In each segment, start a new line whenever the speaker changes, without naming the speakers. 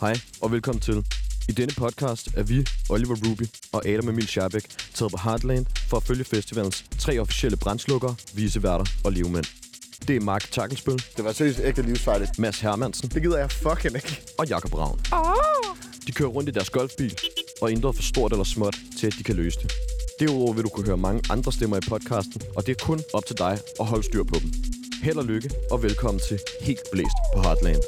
Hej og velkommen til. I denne podcast er vi, Oliver Ruby og Adam Emil Scharbæk, taget på Heartland for at følge festivalens tre officielle brændslukkere, viseværter og levemænd. Det er Mark Takkelsbøl,
Det var seriøst ægte livsfarligt.
Mads Hermansen
Det gider jeg fucking ikke.
og Jakob Ravn. Oh. De kører rundt i deres golfbil, og intet for stort eller småt til, at de kan løse det. Derudover vil du kunne høre mange andre stemmer i podcasten, og det er kun op til dig at holde styr på dem. Held og lykke, og velkommen til Helt Blæst på Heartland.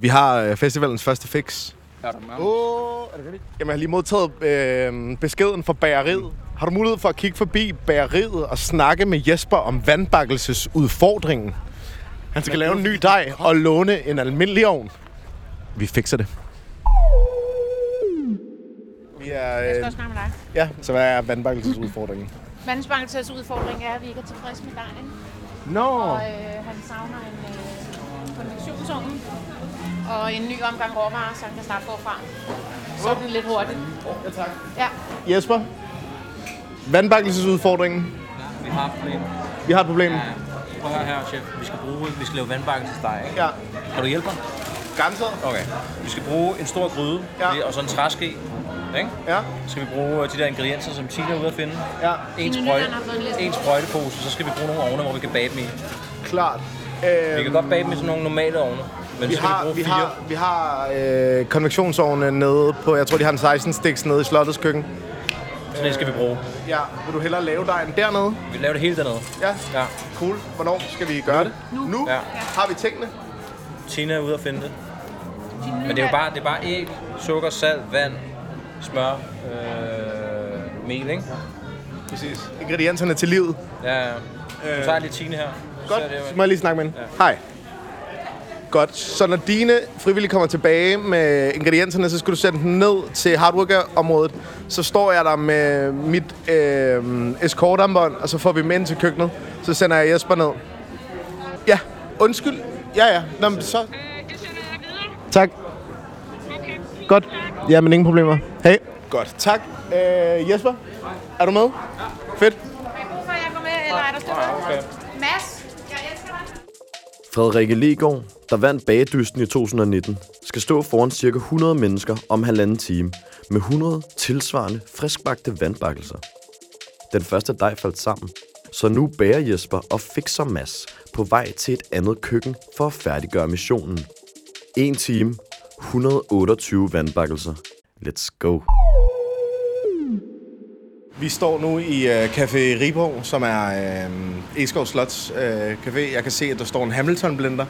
Vi har øh, festivalens første fix.
Åh, oh, er det rigtigt?
Jamen, jeg har lige modtaget øh, beskeden fra bageriet. Har du mulighed for at kigge forbi bageriet og snakke med Jesper om vandbakkelsesudfordringen? Han skal lave en ny dej og låne en almindelig ovn. Vi fikser det. Vi
Jeg skal
er, øh,
også snakke med dig.
ja, så hvad er vandbakkelsesudfordringen?
Vandspangelsers udfordring er, at vi ikke er tilfredse med dejen,
Nå!
og øh, han savner en øh, konvektionsovn og en ny omgang råvarer, så han kan starte forfra. Sådan lidt hurtigt.
Ja, tak.
Ja.
Jesper, vandbakkelsesudfordringen.
Vi har et problem.
Vi har et problem.
Ja, prøv at høre her, chef. Vi skal bruge, vi skal lave vandbakken til dig, ikke?
Ja.
Kan du hjælpe mig?
Grænser?
Okay. Vi skal bruge en stor gryde
Ja.
ja. og så en træske, ikke?
Ja.
Så skal vi bruge øh, de der ingredienser, som Tina er ude at finde.
Ja.
En,
Tina,
sprøjte,
den har fået en liste.
en sprøjtepose, så skal vi bruge nogle ovne, hvor vi kan bage dem i.
Klart. Øhm,
Vi kan godt bage dem i sådan nogle normale ovne, men
Vi
så skal vi
har,
bruge
vi
fire.
har, vi har øh, konvektionsovne nede på, jeg tror, de har en 16 stiks nede i slottets køkken.
Så det skal
øh,
vi bruge.
Ja, vil du hellere lave dejen dernede?
Vi laver det hele dernede.
Ja.
Ja.
Cool. Hvornår skal vi gøre det? Nu. nu?
Ja.
Har vi tingene?
Tina er ude at finde det. Men det er
Øh,
jo bare, det er bare æg, sukker, salt, vand, smør, øh, mel, ikke?
Præcis. Ingredienserne til livet.
Ja, ja. Nu tager jeg lige Tine her. Så er det jo-
Godt. Så må jeg lige snakke med hende. Ja. Hej. Godt. Så når dine frivillige kommer tilbage med ingredienserne, så skal du sende dem ned til hardworker-området. Så står jeg der med mit øh, escortarmbånd, og så får vi dem ind til køkkenet. Så sender jeg Jesper ned. Ja, undskyld. Ja, ja. Nå, men så... Tak. Godt. Ja, men ingen problemer. Hej. Godt. Tak. Øh, Jesper, er du med? Ja. Fedt.
Har I brug for, at jeg går med, eller er der stykker? Mads, jeg elsker dig.
Frederikke Legaard, der vandt bagedysten i 2019, skal stå foran ca. 100 mennesker om halvanden time med 100 tilsvarende friskbagte vandbakkelser. Den første dej faldt sammen, så nu bærer Jesper og fikser Mads på vej til et andet køkken for at færdiggøre missionen. 1 time, 128 vandbakkelser. Let's go.
Vi står nu i øh, Café Riborg, som er øh, Eskov Slots øh, Café. Jeg kan se, at der står en Hamilton-blender,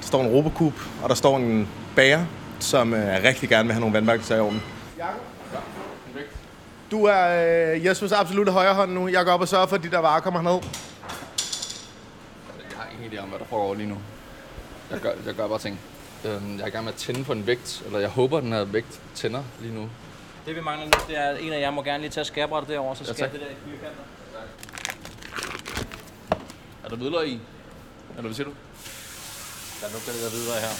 der står en Robocube, og der står en bager, som øh, rigtig gerne vil have nogle vandbakkelser i ovnen. Jakob? Du er øh, Jespers absolutte højre hånd nu. Jeg går op og sørger for, at de der varer kommer ned.
Jeg har ingen idé om, hvad der foregår lige nu. Jeg gør, jeg gør bare ting. Øhm, Jeg er i gang med at tænde på en vægt, eller jeg håber, den her vægt tænder lige nu.
Det vi mangler nu, det er, at en af jer må gerne lige tage skærbrættet derovre, så skærer
tak.
det der i firkanter.
Er der hvidløg i? Eller hvad siger du?
Der lugter lidt af videre her.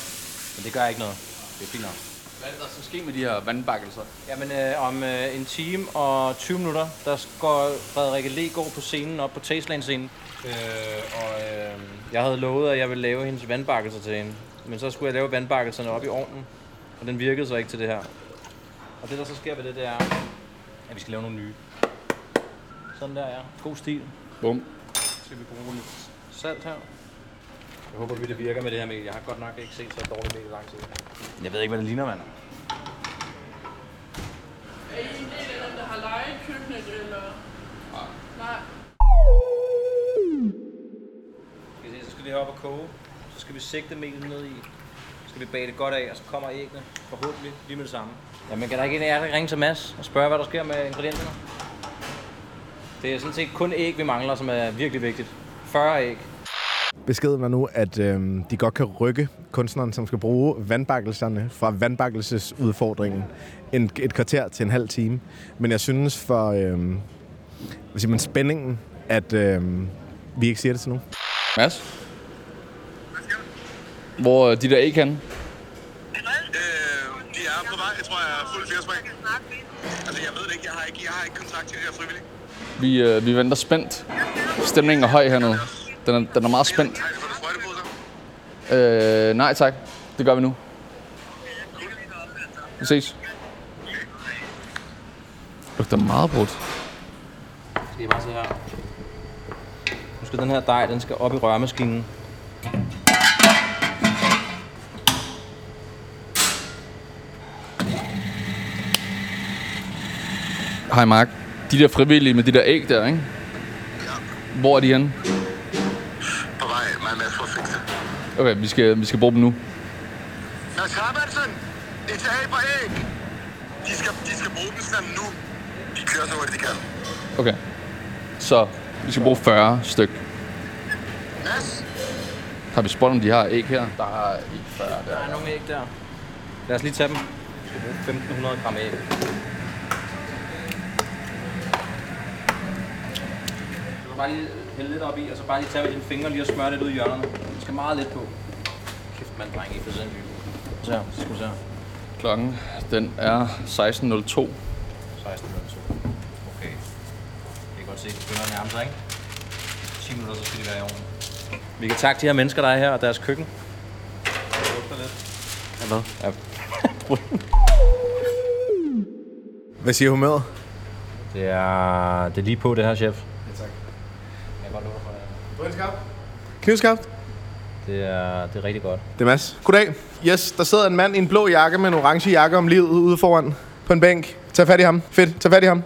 Men det gør ikke noget. Det er fint nok.
Hvad er det, der skal ske med de her vandbakkelser?
Jamen, øh, om øh, en time og 20 minutter, der går Frederikke Legaard på scenen op på Tasteland-scenen. Øh, og øh, jeg havde lovet, at jeg ville lave hendes vandbakkelser til hende. Men så skulle jeg lave vandbakkelserne op i ovnen, og den virkede så ikke til det her. Og det, der så sker ved det, det er, at vi skal lave nogle nye. Sådan der, ja. God stil.
Bum.
Så skal vi bruge lidt salt her. Jeg håber, vi det virker med det her mel. Jeg har godt nok ikke set så dårligt mel i lang tid. Jeg ved ikke, hvad det ligner, mand. Skal vi se, Så skal det her op og koge. Så skal vi sigte melet ned i. Så skal vi bage det godt af, og så kommer æggene forhåbentlig lige med det samme. Jamen kan der ikke en af jer der ringe til Mads og spørge, hvad der sker med ingredienserne? Det er sådan set kun æg, vi mangler, som er virkelig vigtigt. 40 æg.
Beskeden var nu, at øh, de godt kan rykke kunstneren, som skal bruge vandbakkelserne fra vandbakkelsesudfordringen en, et kvarter til en halv time. Men jeg synes for øh, hvad siger man, spændingen, at øh, vi ikke siger det til nogen.
Øh,
Mads? Hvor er de der æg henne?
Øh, de er på vej, jeg tror, jeg er fuld fjerspring. Altså, jeg ved det ikke, jeg har ikke, jeg har ikke kontakt til de her frivillige.
Vi, øh, vi venter spændt. Stemningen er høj hernede. Den er, den er meget spændt.
Har I fået sprøjteposer?
Øh, nej tak. Det gør vi nu. Vi ses. Lugter meget brudt.
Skal I bare se her. Nu skal den her dej, den skal op i rørmaskinen.
Hej Mark. De der frivillige med de der æg der, ikke? Hvor er de henne?
På vej, mig med for at fikse.
Okay, vi skal, vi skal bruge dem nu.
Mads Hermansen, et af på æg. De skal, de skal bruge den sådan nu. De kører så hurtigt, de kan.
Okay. Så vi skal bruge 40 styk.
Mads,
Har vi spurgt, om de har æg her? Der har ikke 40
Der er nogle æg der. Lad os lige tage dem. Vi skal bruge 1500 gram æg. Du kan bare lige hælde lidt op i, og så bare lige tage med dine fingre lige og smøre lidt ud i hjørnerne. Det skal meget lidt på. Kæft mand, dreng, I er for sindssyge. Så her, skal vi se her.
Klokken, den er 16.02.
16 minutter. Okay. Jeg kan godt se, at det begynder at nærme sig, ikke? 10 minutter, så skal det være i ovnen. Vi kan takke de her mennesker, der er her, og deres køkken. Det lugter lidt. Ja, hvad? Ja,
Hvad siger humøret?
Det er, det er lige på det her, chef. Ja, tak. Jeg kan godt love dig for det.
Knivskaft?
Det er, det er rigtig godt.
Det er Mads. Goddag. Yes, der sidder en mand i en blå jakke med en orange jakke om livet ude foran på en bænk. Tag fat i ham. Fedt, tag fat i ham.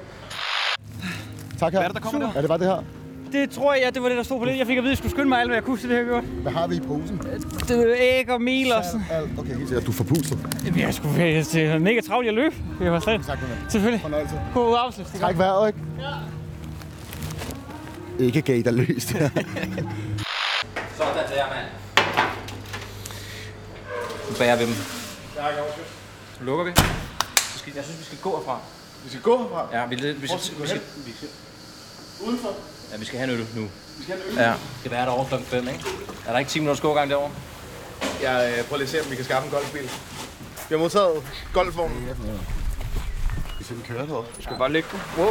Tak her. Hvad er det, der kommer der? Er det bare det her?
Det tror jeg, det var det, der stod på det. Jeg fik at vide, at jeg skulle skynde mig alt, hvad jeg kunne, så det har jeg gjort.
Hvad har vi i posen?
Det var æg og mel og sådan.
Alt. Okay, helt sikkert. Du er forpustet.
Jamen, jeg skulle være det var mega travlt, jeg løb. Det var slet.
Tak, Mona.
Selvfølgelig.
Fornøjelse.
God afslut. Det er
Træk vejret, ikke? Ja. Ikke gav der løst.
Sådan der, mand. Nu bærer vi dem. Nu lukker vi. Så skal, jeg synes, vi skal gå herfra.
Vi skal gå herfra.
Ja, vi, vi, skal, vi, skal, vi skal,
Udenfor.
ja, vi skal have en øl nu. Ja, det er derovre klokken 5, ikke? Er der ikke 10 minutters gågang derovre?
Jeg øh, prøver lige at se, om vi kan skaffe en golfbil. Vi har modtaget golfvognen. Vi ser den kører derovre. Du skal bare lægge den. Wow.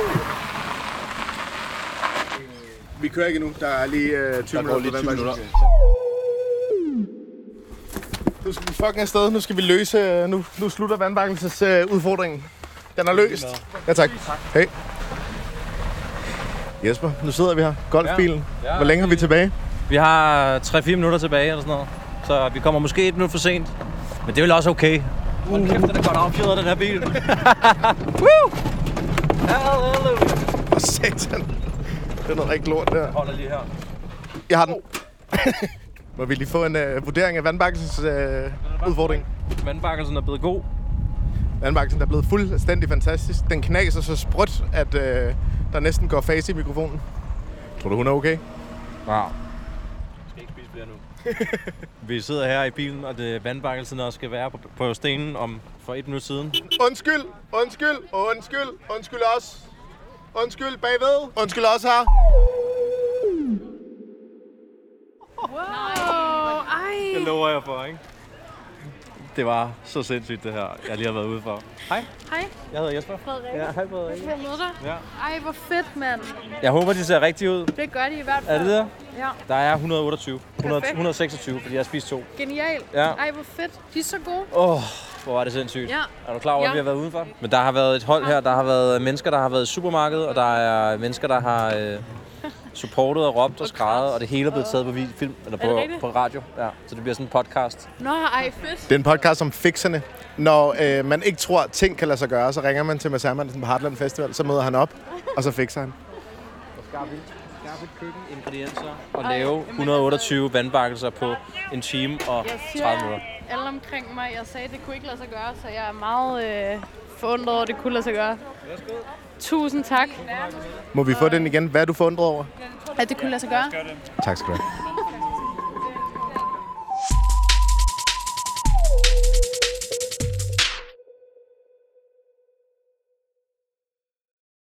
Vi kører ikke endnu. Der er lige øh, 20 minutter. på den vej. Nu skal vi fucking afsted. Nu skal vi løse... øh, Nu, nu slutter vandbakkelses øh, udfordringen. Den er løst. Ja, tak. Hej. Jesper, nu sidder vi her. Golfbilen.
Ja. Ja,
Hvor længe har vi tilbage?
Vi har 3-4 minutter tilbage eller sådan noget. Så vi kommer måske et minut for sent. Men det er vel også okay. Hold kæft, den er godt affjedret, den her bil. Woo! Halleluja.
For satan. Det er noget rigtig lort der.
Holder lige her.
Jeg har den. Oh. Må vi lige få en øh, vurdering af vandbakkelsens øh, udfordring?
Vandbakkelsen er blevet god.
Vandbakkelsen er blevet fuldstændig fantastisk. Den knaser så sprødt, at øh, der næsten går fase i mikrofonen. Tror du, hun er okay?
Wow. skal ikke spise flere nu. vi sidder her i bilen, og det vandbakkelsen også skal være på, på stenen om for et minut siden.
Undskyld, undskyld, undskyld, undskyld os. Undskyld bagved. Undskyld også her.
Wow, ej.
Det lover jeg for, ikke? Det var så sindssygt, det her, jeg lige har været ude for. Hej,
Hej,
jeg hedder Jesper.
Frederik.
Ja, hej Frederik.
Jeg møde dig.
Ja.
Ej, hvor fedt, mand.
Jeg håber, de ser rigtigt ud.
Det gør de i hvert fald.
Er det der?
Ja,
Der er 128. 100,
Perfekt.
126, fordi jeg har spist to.
genial.
Ja.
Ej, hvor fedt. De er så gode.
Åh, oh, hvor var det sindssygt.
Ja.
Er du klar over, at
Ja.
vi har været udenfor? Men der har været et hold her. Der har været mennesker, der har været i supermarkedet, og der er mennesker, der har øh, supportet og råbt og skrevet, og det hele er blevet taget på vi- film, eller
det
på,
rigtigt?
på radio. Ja, så det bliver sådan en podcast.
Nå, ej, fedt.
Det er en podcast om fixerne. Når øh, man ikke tror, at ting kan lade sig gøre, så ringer man til Mads Hermansen på Heartland Festival, så møder han op, og så fikser han.
Ingredienser. Og lave 128 vandbakkelser på en time og
Jeg
30 minutter.
siger, alle omkring mig, jeg sagde, at det kunne ikke lade sig gøre, så jeg er meget øh, forundret over, at det kunne lade sig gøre. Tusind tak,
Må vi få den igen? Hvad er du forundret over?
at det kunne lade sig gøre.
Tak skal du have.